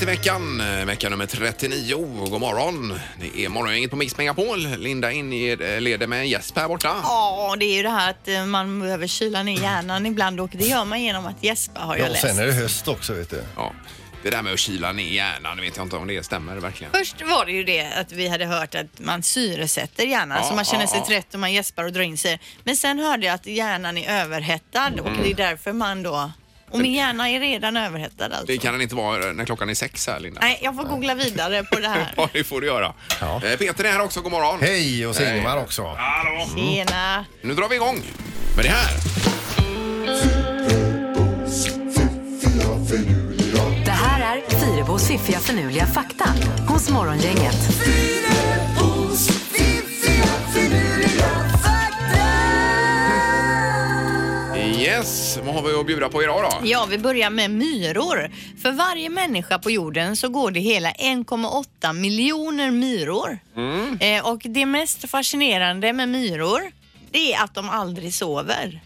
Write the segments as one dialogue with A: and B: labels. A: Eh, veckan, eh, vecka nummer 39. Och God morgon! Det är morgongänget på Mix Megapol. Linda inleder med gäsp här borta.
B: Ja, det är ju det här att eh, man behöver kyla ner hjärnan ibland och det gör man genom att gäspa har jag
C: Ja, och
B: läst.
C: sen är det höst också vet du.
A: Ja. Det där med att kyla ner hjärnan, det vet jag inte om det stämmer verkligen.
B: Först var det ju det att vi hade hört att man syresätter hjärnan
A: Ja,
B: så man känner
A: ja,
B: sig
A: ja.
B: trött och man gäspar och drar in sig. Men sen hörde jag att hjärnan är överhettad
A: Mm.
B: och det är därför man då... Och min hjärna är redan överhettad alltså.
A: Det kan den inte vara eh, när klockan är sex här, Linda.
B: Nej, jag får googla vidare på det här.
A: Ja, det får du göra.
C: Ja.
A: Eh, Peter är här också. God morgon!
C: Hej och så Ingmar också.
A: Hallå!
B: Tjena!
A: Nu drar vi igång med det här.
D: Det här är Fyrabos fiffiga förnuliga fakta hos Morgongänget.
A: Yes, vad har vi att bjuda på idag då?
B: Ja, vi börjar med myror. För varje människa på jorden så går det hela 1,8 miljoner myror.
A: Mm.
B: Eh, och det mest fascinerande med myror, det är att de aldrig sover.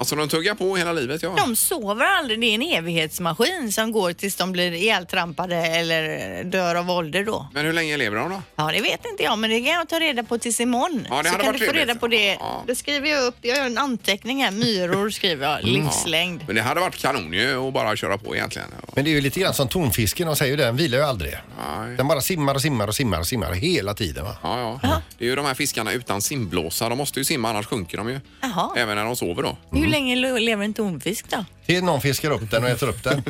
A: Alltså de tuggar på hela livet ja.
B: De sover aldrig, det är en evighetsmaskin som går tills de blir ihjältrampade eller dör av ålder då.
A: Men hur länge lever de då?
B: Ja, det vet inte jag, men det kan jag ta reda på tills imorgon.
A: Ja, det
B: så
A: hade
B: kan
A: varit
B: du få
A: trevligt.
B: reda på det.
A: Ja.
B: Då skriver jag upp, jag gör en anteckning här, myror skriver jag, livslängd.
A: Men det hade varit kanon ju att bara köra på egentligen.
C: Men det är ju lite grann som tonfisken, de säger ju det, den vilar ju aldrig.
A: Nej.
C: Den bara simmar och simmar och simmar och simmar hela tiden va.
A: Ja, ja. Det är ju de här fiskarna utan simblåsa. De måste ju simma annars sjunker de ju.
B: Jaha.
A: Även när de sover då.
B: Hur länge le- lever en tonfisk då?
C: Till någon fiskar upp den och äter upp den.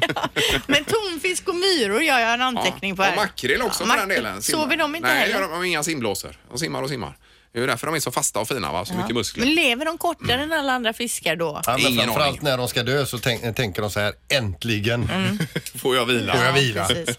B: Men tonfisk och myror gör jag en anteckning på
A: Ja,
B: här.
A: Och makrill också
B: Ja,
A: för den
B: makrill.
A: delen. Simmar.
B: Sover de inte
A: Nej,
B: heller?
A: gör de, de har inga simblåsor. De simmar och simmar. Det är ju därför de är så fasta och fina va? Så mycket muskler.
B: Men lever de kortare än alla andra fiskar då?
C: Ja, men
A: Ingen
C: framförallt
A: aning.
C: när de ska dö så tänk, tänker de så här, äntligen.
A: Får jag vila?
C: Får jag vila?
B: precis.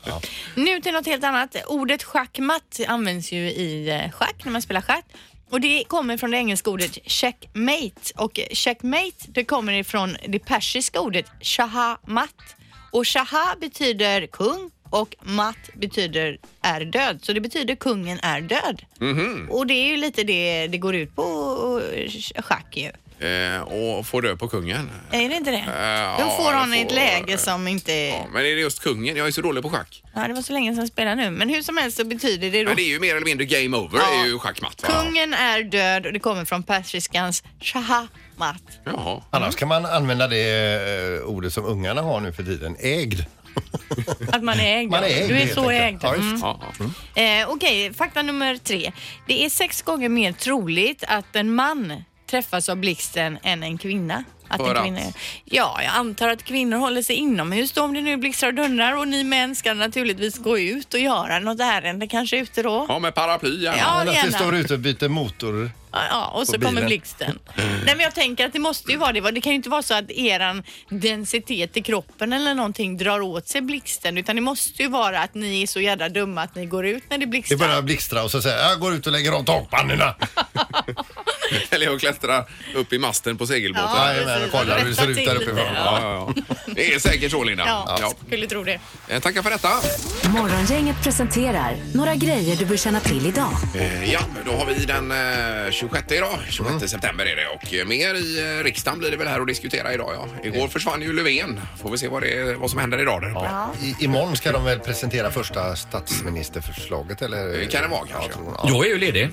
B: Nu till något helt annat. Ordet schackmatt används ju i eh, schack, när man spelar schack. Och det kommer från det engelska ordet checkmate. Och checkmate, det kommer ifrån det persiska ordet shahamat. Och shaha betyder kung och matt betyder är död. Så det betyder kungen är död.
A: Mhm.
B: Och det är ju lite det det går ut på eh, schack ju.
A: Eh, och får dö på kungen.
B: Är det inte det?
A: Eh,
B: Då
A: ja,
B: får
A: det
B: han ett
A: får-
B: läge som inte...
A: Ja,
B: Ja.
A: men är det just kungen? Jag är så dålig på schack.
B: det var så länge sedan jag spelade nu. Men hur som helst så betyder det då...
A: Men det är ju mer eller mindre game over.
B: Ja.
A: Det är ju schackmatt. va?
B: Kungen är död och det kommer från persiskans shahamat.
A: Jaha.
C: Annars kan man använda det eh, ordet som ungarna har nu för tiden, ägd.
B: Att man är ägd.
C: Man är
B: ja.
C: ägd
B: du är
C: helt
B: så ägd.
C: enkelt. Ja,
B: Mm.
C: just.
A: Ja, ja.
B: Eh, Okej, fakta nummer tre. Det är sex gånger mer troligt att en man träffas av blixten än en kvinna. Att
A: För
B: en
A: att?
B: kvinna Ja, jag antar att kvinnor håller sig inomhus då om det nu blixtrar och dundrar och ni män ska naturligtvis gå ut och göra något ärende kanske ute då.
A: ja med paraply gärna.
B: Ja,
C: Eller att vi
B: gärna.
C: står ute och byter motor.
B: Ja, och så
C: Och bilen.
B: kommer blixten. Nej, men jag tänker att det måste ju vara det. Det kan ju inte vara så att eran densitet i kroppen eller någonting drar åt sig blixten, utan det måste ju vara att ni är så jävla dumma att ni går ut när det
C: Det
B: blixtrar.
C: börjar blixtra och så säger jag, jag går ut och lägger av takpannorna.
A: Eller jag klättrar upp i masten på segelbåten.
B: Ja,
A: Ja.
C: Jajamän, och
B: precis.
C: kollar hur det ser
B: Rätta
C: ut där
B: till lite,
C: uppifrån.
A: Ja,
C: Ja.
A: ja, Det är säkert så Linda.
B: Ja,
A: Ja.
B: skulle tro det.
A: Eh, Tackar för detta.
D: Morgongänget presenterar några grejer du bör känna till idag.
A: Eh, Ja, då har vi den eh, 26 idag. 26 september är det och eh, mer i eh, riksdagen blir det väl här att diskutera idag ja. Igår försvann ju Löfven. Får vi se vad, det, vad som händer idag där uppe.
C: I, imorgon ska de väl presentera första statsministerförslaget eller?
A: Det Eh, kan det vara kanske.
C: Jag tror- ja.
E: Jag är ju ledig.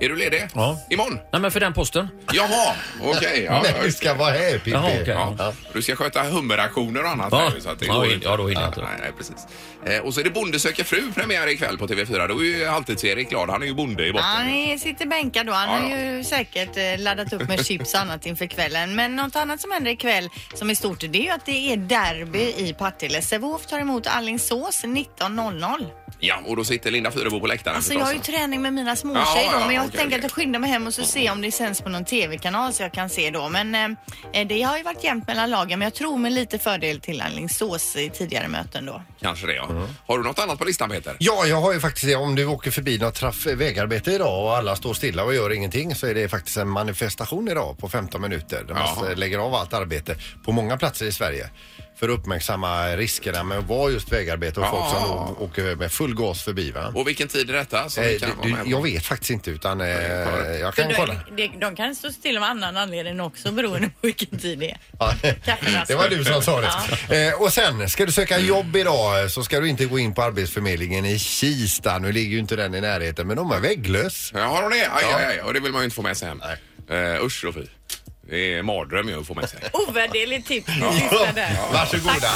A: Är du ledig?
C: Ja.
A: Imorgon?
E: Nej, men för den posten.
A: Jaha, okej. ja,
C: Men du ska vara här Pippi.
E: Jaha, okej.
C: Ja.
A: Ja. Du ska sköta hummeraktioner och annat.
E: Ja.
A: här ju, så att det
E: Ja,
A: går
E: då-
A: inte.
E: ja, då hinner jag inte.
A: Nej, nej, precis. Eh, och så är det Bonde söker fru premiär ikväll på TV4. Då är ju alltid erik glad. Han är ju bonde i botten.
B: Han sitter bänkad då. Han
A: Ja,
B: har ju säkert eh, laddat upp med chips och annat inför kvällen. Men något annat som händer ikväll som är stort det är ju att det är derby i Partille. Sävehof tar emot Alingsås 19.00.
A: Ja, och då sitter Linda Fyrebo på läktaren
B: Alltså jag
A: förstås.
B: har ju träning med mina
A: Ja,
B: småtjejer
A: ja,
B: då, men jag
A: okej,
B: tänker
A: okej.
B: att jag skyndar mig hem och så se om det sänds på någon TV-kanal så jag kan se då. Men eh, det har ju varit jämnt mellan lagen, men jag tror med lite fördel till Alingsås i tidigare möten då.
A: Kanske det, ja. Har du något annat på listan, Peter?
C: Ja, jag har ju faktiskt det. Om du åker förbi något traf- vägarbete idag och alla står stilla och gör ingenting så är det faktiskt en manifestation idag på 15 minuter. Där
A: Jaha.
C: man lägger av allt arbete på många platser i Sverige för att uppmärksamma riskerna med att vara just vägarbete och folk som
A: Ja.
C: å- åker med full gas förbi va?
A: Ah. Och vilken tid är detta? Som vi
C: Eh,
A: kan
C: du-
A: vara med på?
C: du, jag vet faktiskt inte utan eh,
A: jag kollar.
C: jag
B: För
C: kan kolla.
B: de, de, de kan stå still av annan anledning också beroende på vilken tid det är.
C: Ja,
B: Kafferast.
C: Det var du som sa det. Eh, och sen, ska du söka jobb idag eh, så ska du inte gå in på Arbetsförmedlingen i Kista. Nu ligger ju inte den i närheten men de är vägglöss.
A: Ja, har hon det? Aj, aj, aj. Och det vill man ju inte få med sig hem. Eh, usch och fy. Det är en mardröm ju att få med sig.
B: Ovärderligt tips det sista där.
C: Varsågoda.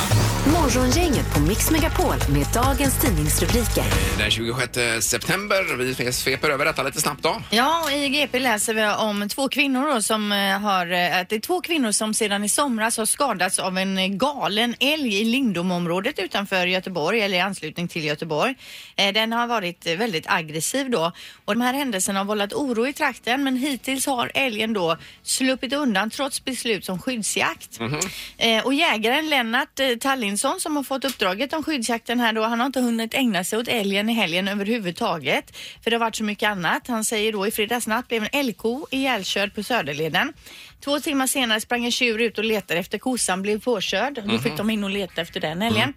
D: Morgongänget på Mix Megapol med dagens tidningsrubriker.
A: Den 26 september. Vi sveper över detta lite snabbt då.
B: Ja, och i GP läser vi om två kvinnor då som eh, har, eh, att det är två kvinnor som sedan i somras har skadats av en eh, galen älg i Lindomområdet utanför Göteborg eller i anslutning till Göteborg. Eh, Den har varit eh, väldigt aggressiv då och de här händelserna har vållat oro i trakten men hittills har älgen då sluppit undan trots beslut om skyddsjakt. Eh, Och jägaren Lennart eh, Tallinsson som har fått uppdraget om skyddsjakten här då, han har inte hunnit ägna sig åt älgen i helgen överhuvudtaget. För det har varit så mycket annat. Han säger då i fredags natt blev en älgko ihjälkörd på Söderleden. Två timmar senare sprang en tjur ut och letade efter kossan, blev påkörd. Då fick de in och leta efter
A: Mm,
B: den älgen.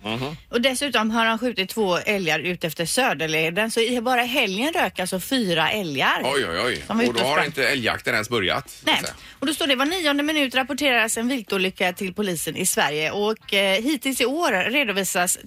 B: Och dessutom har han skjutit två älgar ut efter Söderleden. Så i bara helgen rök alltså fyra älgar.
A: Oj, oj, oj.
B: Som är
A: Och
B: ute
A: då
B: och
A: har
B: sprang.
A: inte älgjakten ens börjat. så att
B: Nej.
A: säga.
B: Och då står det var nionde minut rapporteras en viltolycka till polisen i Sverige och eh, hittills i år redovisas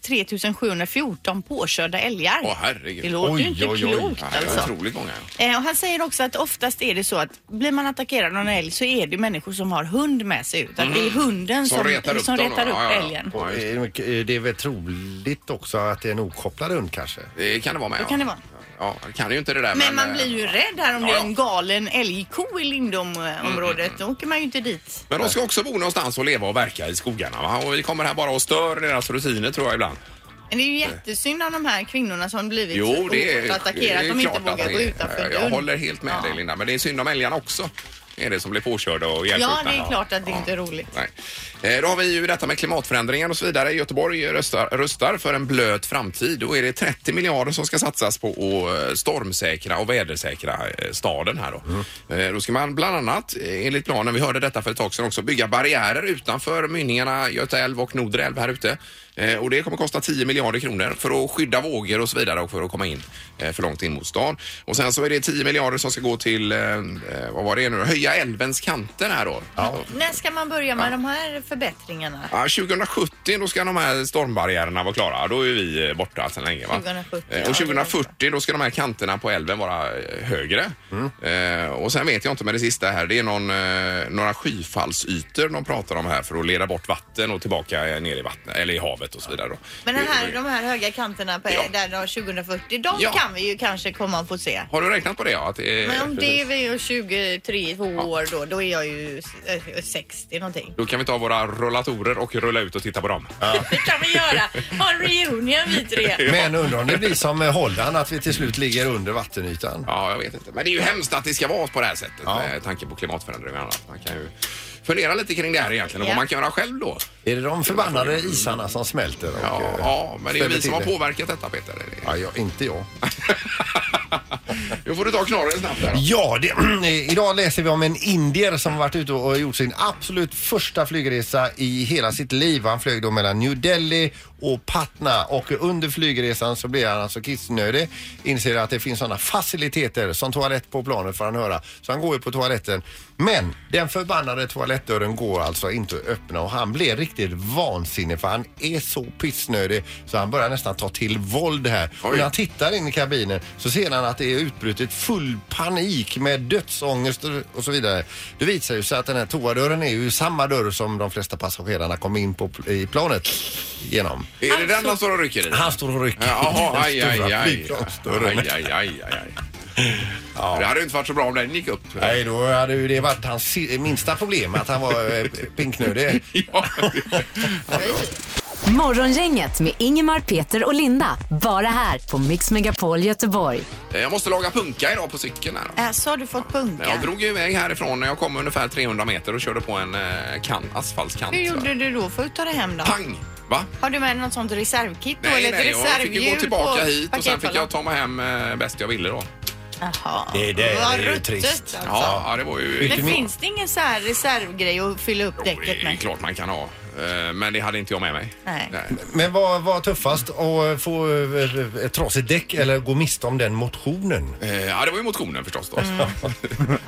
B: 3714 påkörda älgar.
A: Åh, herregud.
B: Det låter
C: Oj,
B: ju inte
C: oj, oj.
B: klokt
A: Ja, det är
B: alltså.
A: otroligt många. ja.
B: Eh, och han säger också att oftast är det så att blir man attackerad av en älg så är det människor som har hund med sig ut. Att det är hunden
A: Mm. Som
B: som,
A: retar upp
B: som
A: dem,
B: retar
A: ja,
B: upp
A: ja, ja.
B: älgen.
A: Ja, just
C: Och, eh, Det är väl troligt också att det är en okopplad hund kanske.
A: Det kan det vara med.
B: kan det vara.
A: Ja, det kan ju inte det där.
B: Men man
A: eh,
B: blir ju rädd här om
A: ja,
B: det är
A: ja. Mm,
B: en galen älgko i Lindomområdet. Då åker man ju inte dit.
A: Men de ska också bo någonstans och leva och verka i skogarna. Va? Och vi kommer här bara och stör deras rutiner tror jag ibland.
B: Men det är ju jättesynd om de här kvinnorna som blivit
A: Jo, det är,
B: hårt attackerade, att de
A: klart
B: inte
A: att
B: vågar
A: det
B: gå
A: är.
B: utanför
A: Jag
B: dörren.
A: håller helt med dig Linda, men det är synd om älgarna också. Är det som blir påkörda och
B: Ja,
A: ihjälskjutna.
B: det är klart att det inte är roligt.
A: Nej. Eh, Då har vi ju detta med klimatförändringar och så vidare. Göteborg röstar, röstar för en blöt framtid. Då är det 30 miljarder som ska satsas på att eh, stormsäkra och vädersäkra eh, staden här då. Eh, Då ska man bland annat, eh, enligt planen, vi hörde detta för ett tag sedan också, bygga barriärer utanför mynningarna Göta älv och Noderälv här ute. Eh, Och det kommer kosta 10 miljarder kronor för att skydda vågor och så vidare och för att komma in eh, för långt in mot stan. Och sen så är det 10 miljarder som ska gå till, eh, eh, vad var det nu då? höja älvens kanter här då.
B: När ska man börja med de här förbättringarna?
A: Ja, 2070 då ska de här stormbarriärerna vara klara. Då är vi eh, borta sedan länge. Va?
B: 2070,
A: Eh,
B: ja,
A: och 2040 då ska de här kanterna på älven vara eh, högre. Eh, och sen vet jag inte med det sista här. Det är någon, eh, några skyfallsytor de pratar om här för att leda bort vatten och tillbaka eh, ner i vattnet eller i havet och så vidare. Då. Eh,
B: Men den här,
A: Det-
B: de här höga kanterna på,
A: Ja.
B: där de har 2040, de
A: Ja.
B: kan vi ju kanske komma och få se.
A: Har du räknat på det? Ja, att det är,
B: Men om det
A: precis.
B: är vi 23, 2 år då, då är jag ju eh, 60 någonting.
A: Då kan vi ta våra rollatorer och rulla ut och titta på dem.
B: Det kan vi göra! Ha en reunion vi tre.
C: Men undrar om det blir som med Holland att vi till slut ligger under vattenytan.
A: Ja, jag vet inte. Men det är ju hemskt att det ska vara på det här sättet eh, med tanke på klimatförändringar och annat. Man kan ju fundera lite kring det här egentligen och
B: Ja.
A: vad man kan göra själv då.
C: Är det de förbannade isarna som smälter? Och,
A: Ja,
C: eh,
A: ja men det är ju
C: ställer
A: vi som
C: till
A: har
C: det?
A: påverkat detta Peter.
C: Ja, jag, inte jag.
A: Nu får du ta knorren snabbt där. då.
C: Ja, det, idag läser vi om en indier som varit ute och gjort sin absolut första flygresa i hela sitt liv. Han flög då mellan New Delhi och Patna och under flygresan så blir han alltså kissnödig. Inser att det finns sådana faciliteter som toalett på planet får han höra. Så han går ju på toaletten. Men den förbannade toalettdörren går alltså inte att öppna och han blir riktigt vansinnig för han är så pissnödig så han börjar nästan ta till våld här.
A: Oj.
C: Och när han tittar in i kabinen så ser han att det är utbrutet full panik med dödsångest och så vidare. Det visar ju sig att den här toadörren är ju samma dörr som de flesta passagerarna kom in på pl- i planet genom.
A: Är
B: Alltså-
A: det den han står och rycker i?
C: Han står och rycker
A: Jaha,
C: i
A: aj,
C: den
A: aj,
C: stora
A: aj. Aj,
C: flygplansdörren.
A: aj, aj, aj, aj. Det hade ju inte varit så bra om den gick upp.
C: Nej, då hade ju det varit hans si- minsta problem att han var eh, pinknödig.
A: Ja.
D: Morgongänget med Ingemar, Peter och Linda. Bara här på Mix Megapol Göteborg.
A: Eh, Jag måste laga punka idag på cykeln här.
B: Alltså har du fått
A: Men jag
B: punka?
A: drog ju iväg härifrån när jag kom ungefär 300 meter och körde på en eh, kan, asfaltskant.
B: Hur gjorde du då för att ta dig hem då?
A: Pang! Va?
B: Har du med något sånt reservkit då?
A: Nej,
B: eller
A: nej,
B: ett
A: jag fick ju
B: reservhjul
A: gå tillbaka
B: på
A: hit och sen fick
B: pakethållaren?
A: jag ta mig hem eh, bäst jag ville då.
B: Jaha.
C: Det där
B: Vad
C: är ju
B: ruttet,
C: trist.
B: Alltså.
A: Ja, ja det var ju...
B: Men finns det ingen så här reservgrej att fylla upp
A: Det
B: däcket
A: är
B: med?
A: klart man kan ha. Eh, Men det hade inte jag med mig.
B: Nej.
C: Men vad var tuffast? Att få eh, ett trasigt däck eller gå miste om den motionen?
A: Eh, Ja, det var ju motionen förstås då.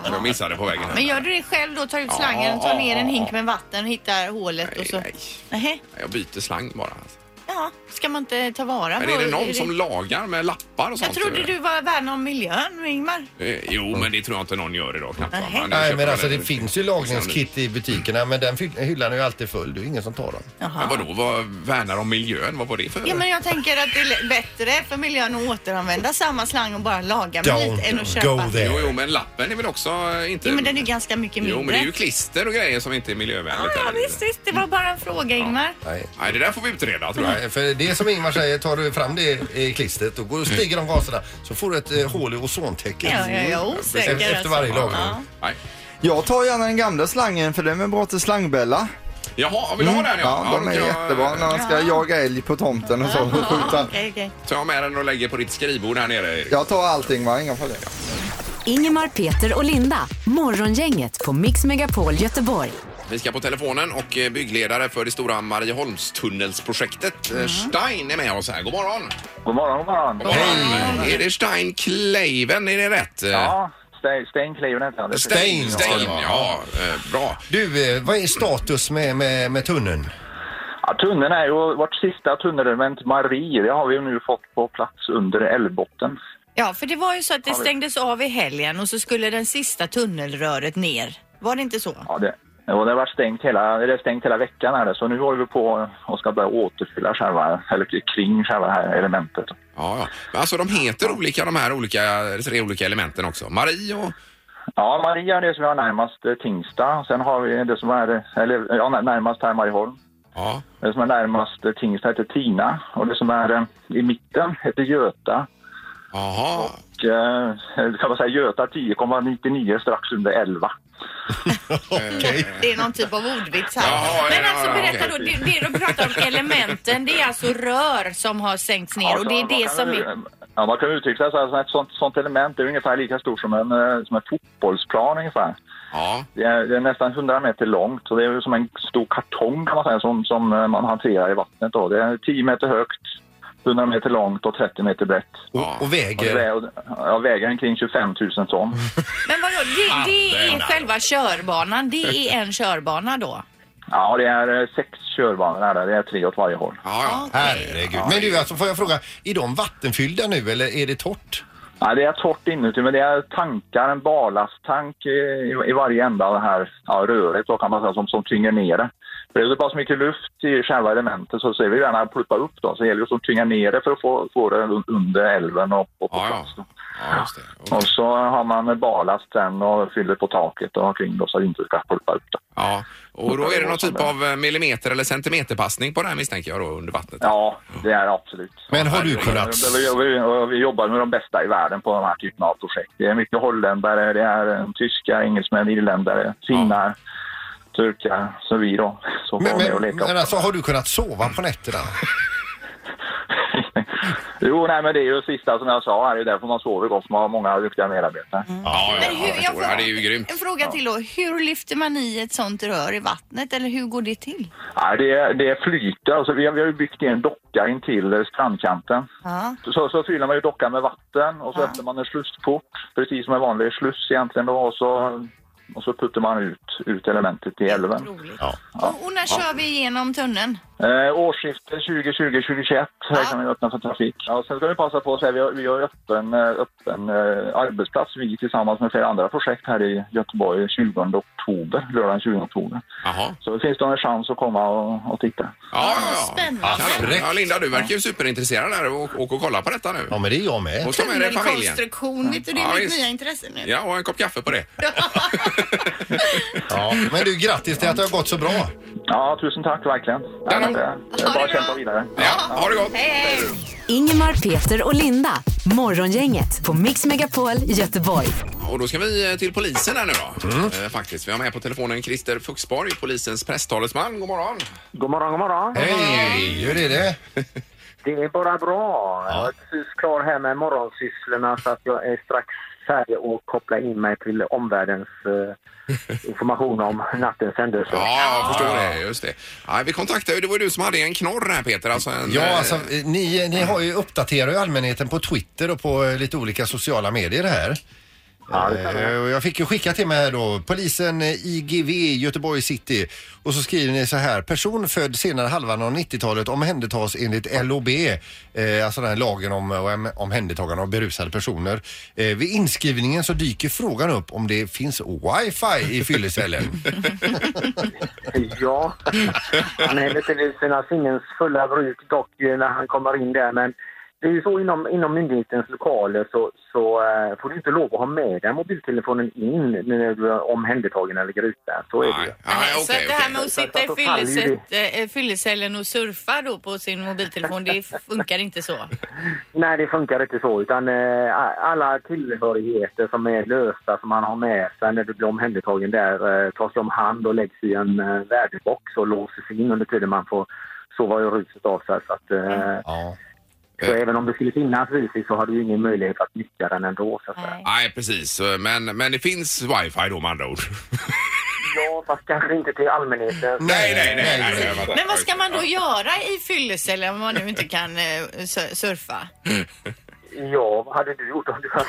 A: jag missade på vägen
B: Men
A: här.
B: gör du det själv då? Tar ut
A: Ja,
B: slangen, tar ner en
A: ja,
B: hink
A: ja.
B: med vatten, hittar hålet och så...
A: Nej,
B: Nej.
A: Jag byter slang bara. alltså.
B: Ja, ska man inte ta vara
A: Men är det någon som lagar med lappar och
B: Jag
A: sånt?
B: trodde du var värn om miljön, Ingmar.
A: Eh, Jo, men det tror jag inte någon gör idag knappt. va?
B: Nej.
A: jag
C: Nej,
A: köper
C: men
A: väl
C: alltså
A: en-
C: det finns ju lagningskit i butikerna men den fy- hyllan är ju alltid full. Det är ju ingen som tar den.
A: Men
B: Jaha.
A: vadå, vad värnar om miljön? Vad var det för?
B: Ja, men jag tänker att det är bättre för miljön att återanvända samma slang och bara laga med lite än att
C: Don't
B: köpa.
C: go there.
A: Jo, jo, men lappen är väl också eh, inte...
B: Jo, men den är ju ganska mycket mindre.
A: Jo, men det är ju klister och grejer som inte är
B: Ja,
A: miljövänligt.
B: ja,
A: eller?
B: visst, visst. Det var bara en fråga, Ingmar.
C: Nej.
A: Nej, det där får vi utreda tror jag.
C: Nej, för det är som Ingmar säger, tar du fram det i klistret då går stiger de gaserna så får du ett eh, hål i
B: Ja,
C: ozontäcket.
B: ja, jag
A: Mm.
B: är osäker.
C: Efter- efter
B: alltså.
C: varje lagning.
B: Ja.
A: Nej.
E: Jag tar gärna den gamla slangen för den är bra till slangbella. Mm.
A: Jaha, vill du ha
F: Mm.
A: den?
E: Ja, de
A: då
E: är
A: kan jag-
E: jättebra när man ska jaga älg på tomten och så. och skjuta.
B: Okej, okej.
A: Tar jag med den och lägger på ditt skrivbord här nere. Erik.
E: Jag tar allting va, inga problem.
D: Ingemar, Peter och Linda. Morgongänget på Mix Megapol Göteborg.
A: Vi ska på telefonen och eh, byggledare för det stora Marieholmstunnelsprojektet. eh, Stein är med oss här. God morgon!
G: God morgon, god morgon.
A: God morgon. Är det Stein Kleiven? Är det rätt?
G: Ja, Ste- Stein Kleven heter han. Det är
A: Stein, Stein,
C: Stein, ska det vara.
A: ja. eh, Bra.
C: Du, eh, vad är status med, med, med tunneln?
G: Ja, tunneln är ju vårt sista tunnelement Marie. Det har vi ju nu fått på plats under älvbotten.
B: Ja, för det var ju så att det stängdes av i helgen och så skulle den sista tunnelröret ner. Var det inte så?
G: Ja, det, och det har varit stängt hela, det är stängt hela veckan här, så nu håller vi på och ska börja återfylla själva, eller kring själva det här elementet.
A: Ja, ja. Men Alltså de heter olika de här olika, tre olika elementen också. Marie och...
G: Ja, Maria är det som vi har närmast eh, Tingsta. Sen har vi det som är, eller ja, när- närmast här Marieholm.
A: Ja,
G: Det som är närmast eh, Tingsta heter Tina och det som är eh, i mitten heter Göta.
A: jaha.
G: och eh, kan man säga Göta 10,99 strax under 11.
B: Det är någon typ av ordvits här.
A: Ja, ja,
B: Men
A: ja,
B: alltså
A: ja,
B: berätta
A: okej.
B: då, det, det du pratar om elementen, det är alltså rör som har sänkts ner och det är
G: Alltså, man
B: det
G: kan
B: som
G: ju-
B: är...
G: Ja, man kan uttrycka det så här, så ett sånt, sånt element det är ungefär lika stort som en, eh, som en fotbollsplan ungefär.
A: Ja,
G: Det är, det är nästan 100 meter långt och det är ju som en stor kartong kan man säga som, som eh, man hanterar i vattnet då. Det är 10 meter högt, 100 meter långt och 30 meter brett.
A: Ja.
C: Och, och
G: Och det
C: väger?
G: är, och- ja, väger kring 25 000 ton.
B: Men vadå,
A: Ah,
B: det, det är själva körbanan, det är en körbana då?
G: Ja, det är eh, sex körbanor här, det är tre åt varje håll.
A: ja, ja.
C: Herregud. Men du, alltså, får jag fråga, är de vattenfyllda nu eller är det torrt?
G: Ja, det är torrt inuti, men det är tankar, en barlasttank eh, i, i varje ända av det här ja, röret då kan man säga, som, som tynger ner det. För det är så pass mycket luft i själva elementet så ser vi gärna pluppa upp då, så det gäller det att tynga ner det för att få, få det un- under älven och, och på
A: Ja, ja.
G: plats. Då.
A: ja just det.
G: Och
A: Okej.
G: så har man barlast sen och fyller på taket och omkring då, så det inte ska pluppa upp. Då.
A: Ja, och då är det någon typ av eh, millimeter eller centimeterpassning på det här misstänker jag då under vattnet.
G: Ja, det är det absolut.
C: Men har du
A: herregud.
C: kunnat...
G: Vi, vi, vi jobbar med de bästa i världen på de här typen av projekt. Det är mycket holländare, det är eh, tyskar, engelsmän, irländare, finnar, turkar, så vi då. Så får
C: Men,
G: vara med och
C: men,
G: leka.
C: men alltså har du kunnat sova på nätterna?
G: jo, nej, men det är ju sista som jag sa, här, det är därför man sover gott, man har många duktiga medarbetare.
C: Mm.
A: Ja, ja,
B: Men hur,
A: ja, jag förstår. ja, det är ju grymt.
B: en fråga till då. Hur lyfter man i ett sånt rör i vattnet eller hur går det till?
G: Nej, det, det flyter, alltså, vi, har, vi har ju byggt en docka in till eh, strandkanten.
B: Ja.
G: Så, så fyller man ju dockan med vatten och så
B: Ja.
G: öppnar man en slussport, precis som en vanlig sluss egentligen då, och så, och så puttar man ut, ut elementet i älven.
B: Roligt.
C: Ja.
B: Och, och när kör vi igenom tunneln?
G: Eh, årsskiftet 2020-2021
B: Ja.
G: här kan vi öppna för trafik. Ja, sen ska vi passa på att säga vi har, vi har öppen, eh, öppen eh, arbetsplats vi tillsammans med flera andra projekt här i Göteborg 20 oktober, lördagen 20 oktober.
A: Jaha.
G: Så det finns då en chans att komma och, och titta.
A: Ja,
B: Ja, spännande.
A: Kanon. Ja, Linda, du verkar ju superintresserad här och åk och kolla på detta nu.
C: Ja, men det är jag med.
A: Och ta med dig familjen.
B: Tunnelkonstruktion, vet du, det
A: Ja,
B: är mitt
A: visst.
B: nya intresse nu.
A: Ja, och en kopp kaffe på det.
C: Ja. Men du, grattis till att det har gått så bra.
G: Ja, tusen tack verkligen. Ja, men det, det är bara att kämpa vidare.
A: Ja, ha det gott!
B: Hej, hej!
D: Ingemar, Peter och Linda. Morgongänget på Mix Megapol Göteborg.
A: Och då ska vi eh, till polisen här nu då.
C: Mm.
A: Eh, faktiskt. Vi har med på telefonen Christer Fuxborg, polisens presstalesman. God morgon!
H: God morgon, god morgon.
C: Hej, hur är det?
H: Det är bara bra. Jag är precis klar här med morgonsysslorna så att jag är strax
G: Sverige och koppla in mig till omvärldens eh, information om nattens händelser.
A: Ja, jag förstår det. Just det. Ja, vi kontaktade ju, det var ju du som hade en knorr här Peter. Alltså en,
C: Ja,
A: eh,
C: alltså, eh, ni, ni har ju uppdaterar ju allmänheten på Twitter och på eh, lite olika sociala medier här.
G: Ja, det stämmer.
C: Eh, och Jag fick ju skicka till mig här då, polisen eh, IGV Göteborg city och så skriver ni så här, person född senare halvan av 90-talet omhändertas enligt LOB, eh, alltså den här lagen om eh, om- omhändertagande av berusade personer. Eh, vid inskrivningen så dyker frågan upp om det finns wifi i fyllecellen.
G: Ja, han är lite vid sina sinnens fulla bruk dock eh, när han kommer in där. Men det är ju så inom, inom myndighetens lokaler så, så eh, får du inte lov att ha med dig mobiltelefonen in när du är omhändertagen eller gruten. Så är det ju.
A: Nej, nej,
B: så
A: okej,
B: att det här
A: okej.
B: med att sitta i fyllecett- eh, fyllecellen och surfa då på sin mobiltelefon, det funkar inte så.
G: Nej, det funkar inte så. Utan eh, alla tillhörigheter som är lösta, som man har med sig när du blir omhändertagen där, eh, tas om hand och läggs i en eh, värdebox och låses in under tiden man får sova i ruset av sig. Så, att, eh,
C: Ja.
G: så även om det skulle finnas wifi så har du ju ingen möjlighet att nyttja den ändå. Så att säga.
B: Nej.
A: Nej, precis. Men, men det finns wifi då med andra ord.
G: Ja, fast kanske inte till allmänheten.
A: Nej, nej, nej. nej, nej,
B: Men vad ska man då göra i fyllecellen om man nu inte kan eh, sur- surfa?
G: Ja, vad hade du gjort om du hade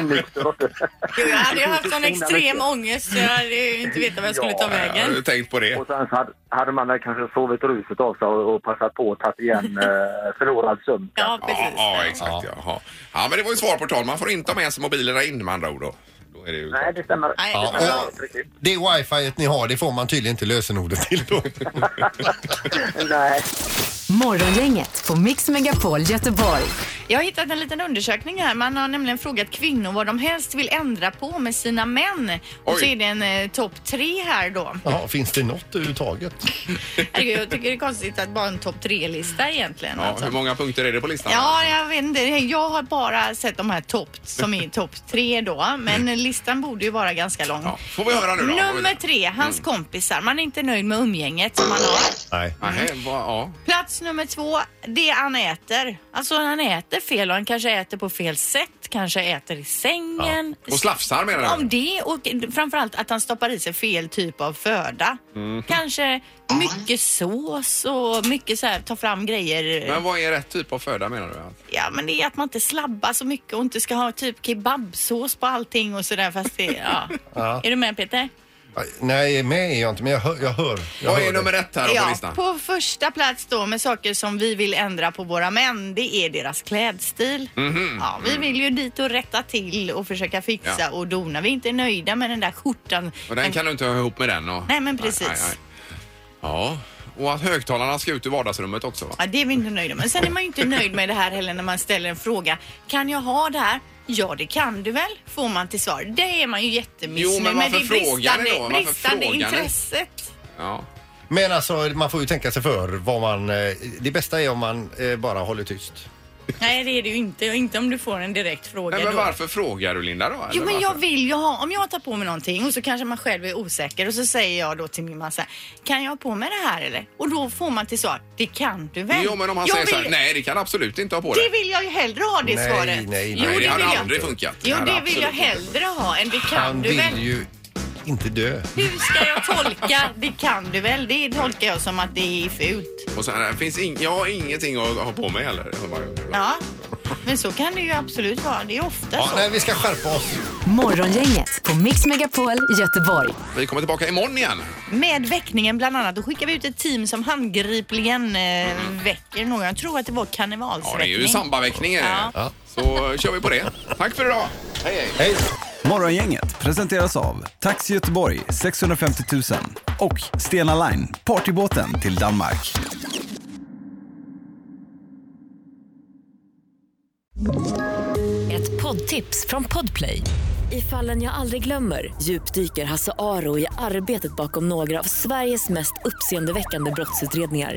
G: onykter?
B: Jo, Jag hade ju haft sån extrem ångest så jag hade ju inte vetat vad jag skulle ta
A: Jag har
B: vägen.
A: ju tänkt på det.
G: Och sen så hade, hade man väl kanske sovit ruset av sig och, och passat på att tagit igen eh, förlorad sömn.
B: Ja,
A: Ja,
B: precis.
A: ja exakt. Ja. Ja. men det var ju svar på tal. Man får inte ha med sig mobilerna in med andra ord. Då. Då är det ju...
G: Nej, det stämmer.
B: Nej,
C: Ja,
B: det-
C: och
G: precis.
C: det wifi ni har, det får man tydligen inte lösenordet till då.
G: Nej.
I: Morgongänget på Mix Megapol Göteborg.
B: Jag har hittat en liten undersökning här. Man har nämligen frågat kvinnor vad de helst vill ändra på med sina män. Och så
A: Oj.
B: är det en eh, topp tre här då.
C: Ja, finns det något överhuvudtaget?
B: Herregud, jag tycker det är konstigt att bara ha en topp tre-lista egentligen.
A: Mm. Ja,
B: alltså.
A: hur många punkter är det på listan?
B: Ja, jag vet inte. Jag har bara sett de här topp som är topp tre då. Men listan borde ju vara ganska lång.
A: Mm. Ja, Får vi höra nu då?
B: Nummer tre,
A: Mm.
B: hans kompisar. Man är inte nöjd med umgänget som man har.
C: Nej.
A: Nej, vad- ja.
B: Plats nummer två, det han äter. Alltså han äter fel och han kanske äter på fel sätt, kanske äter i sängen.
A: Och slafsar menar du?
B: Om det och framförallt att han stoppar i sig fel typ av föda.
A: Mhm.
B: Kanske mycket sås och mycket så här, ta fram grejer.
A: Men vad är rätt typ av föda menar du?
B: Ja men det är att man inte slabbar så mycket och inte ska ha typ kebabsås på allting och sådär fast det, ja. Är du med Peter?
C: Nej, med är jag inte, men jag hör. Jag hör, jag
A: Vad
C: hör
A: är
C: det.
A: nummer ett här då på listan?
B: på första plats då med saker som vi vill ändra på våra män, det är deras klädstil. Ja, vi vill ju dit och rätta till och försöka fixa
A: Mhm. Mm. Ja.
B: och dona. Vi är inte nöjda med den där skjortan.
A: Och den kan du inte ha ihop med den? Och...
B: Nej, men precis.
A: Ja, och att högtalarna ska ut ur vardagsrummet också va?
B: Ja, det är vi inte nöjda med. Men Sen är man ju inte nöjd med det här heller när man ställer en fråga. Kan jag ha det här? Ja, det kan du väl? Får man till svar. Det är man ju jättemissnöjd
A: Jo, men
B: med.
A: varför
B: Det är
A: frågar ni då? Varför
B: bristande, bristande
A: frågar ni?
B: intresset.
A: Ja.
C: Men alltså, man får ju tänka sig för vad man... eh, Det bästa är om man eh, bara håller tyst.
B: Nej, det är det ju inte. Och inte om du får en direkt fråga
A: Nej, men
B: då.
A: varför frågar du Linda då? eller
B: Jo men jag
A: varför?
B: vill ju ha, om jag tar på mig någonting och så kanske man själv är osäker och så säger jag då till min man så här, kan jag ha på mig det här eller? Och då får man till svar, det kan du väl?
A: Jo, men om han
B: jag
A: säger så här,
B: vill-
A: nej det kan du absolut inte ha på
B: Det
A: dig.
B: vill jag ju hellre ha det
C: Nej,
B: svaret.
C: nej,
B: jo,
C: nej,
A: det
B: det
A: hade
B: vill jag.
A: aldrig funkat.
B: Jo,
A: hade
B: det vill jag
A: absolut inte
B: hellre ha än det kan
C: Han
B: du
C: vill
B: väl.
C: ju inte dö.
B: Hur ska jag tolka det kan du väl? Det tolkar jag som att det är fult.
A: funkat. Och så här, finns ing- jag har ingenting att ha på mig heller. Jag bara-
B: Ja, men så kan det ju absolut vara. Det är ofta
C: Ja,
B: så.
C: nej, vi ska skärpa oss.
I: Morgongänget på Mix Megapol Göteborg.
A: Vi kommer tillbaka imorgon igen.
B: Med väckningen bland annat, då skickar vi ut ett team som handgripligen eh, väcker någon. Jag tror att det var
A: Ja, det är ju
B: karnevalsväckning.
A: sambaväckningen.
B: Ja.
A: Ja. Så kör vi på det. Tack för idag. Hej, hej.
C: Hej!
F: Morgongänget presenteras av Taxi Göteborg 650 000 och Stena Line, partybåten till Danmark.
D: Ett poddtips från Podplay. I fallen jag aldrig glömmer djupdyker Hasse Aro i arbetet bakom några av Sveriges mest uppseendeväckande brottsutredningar.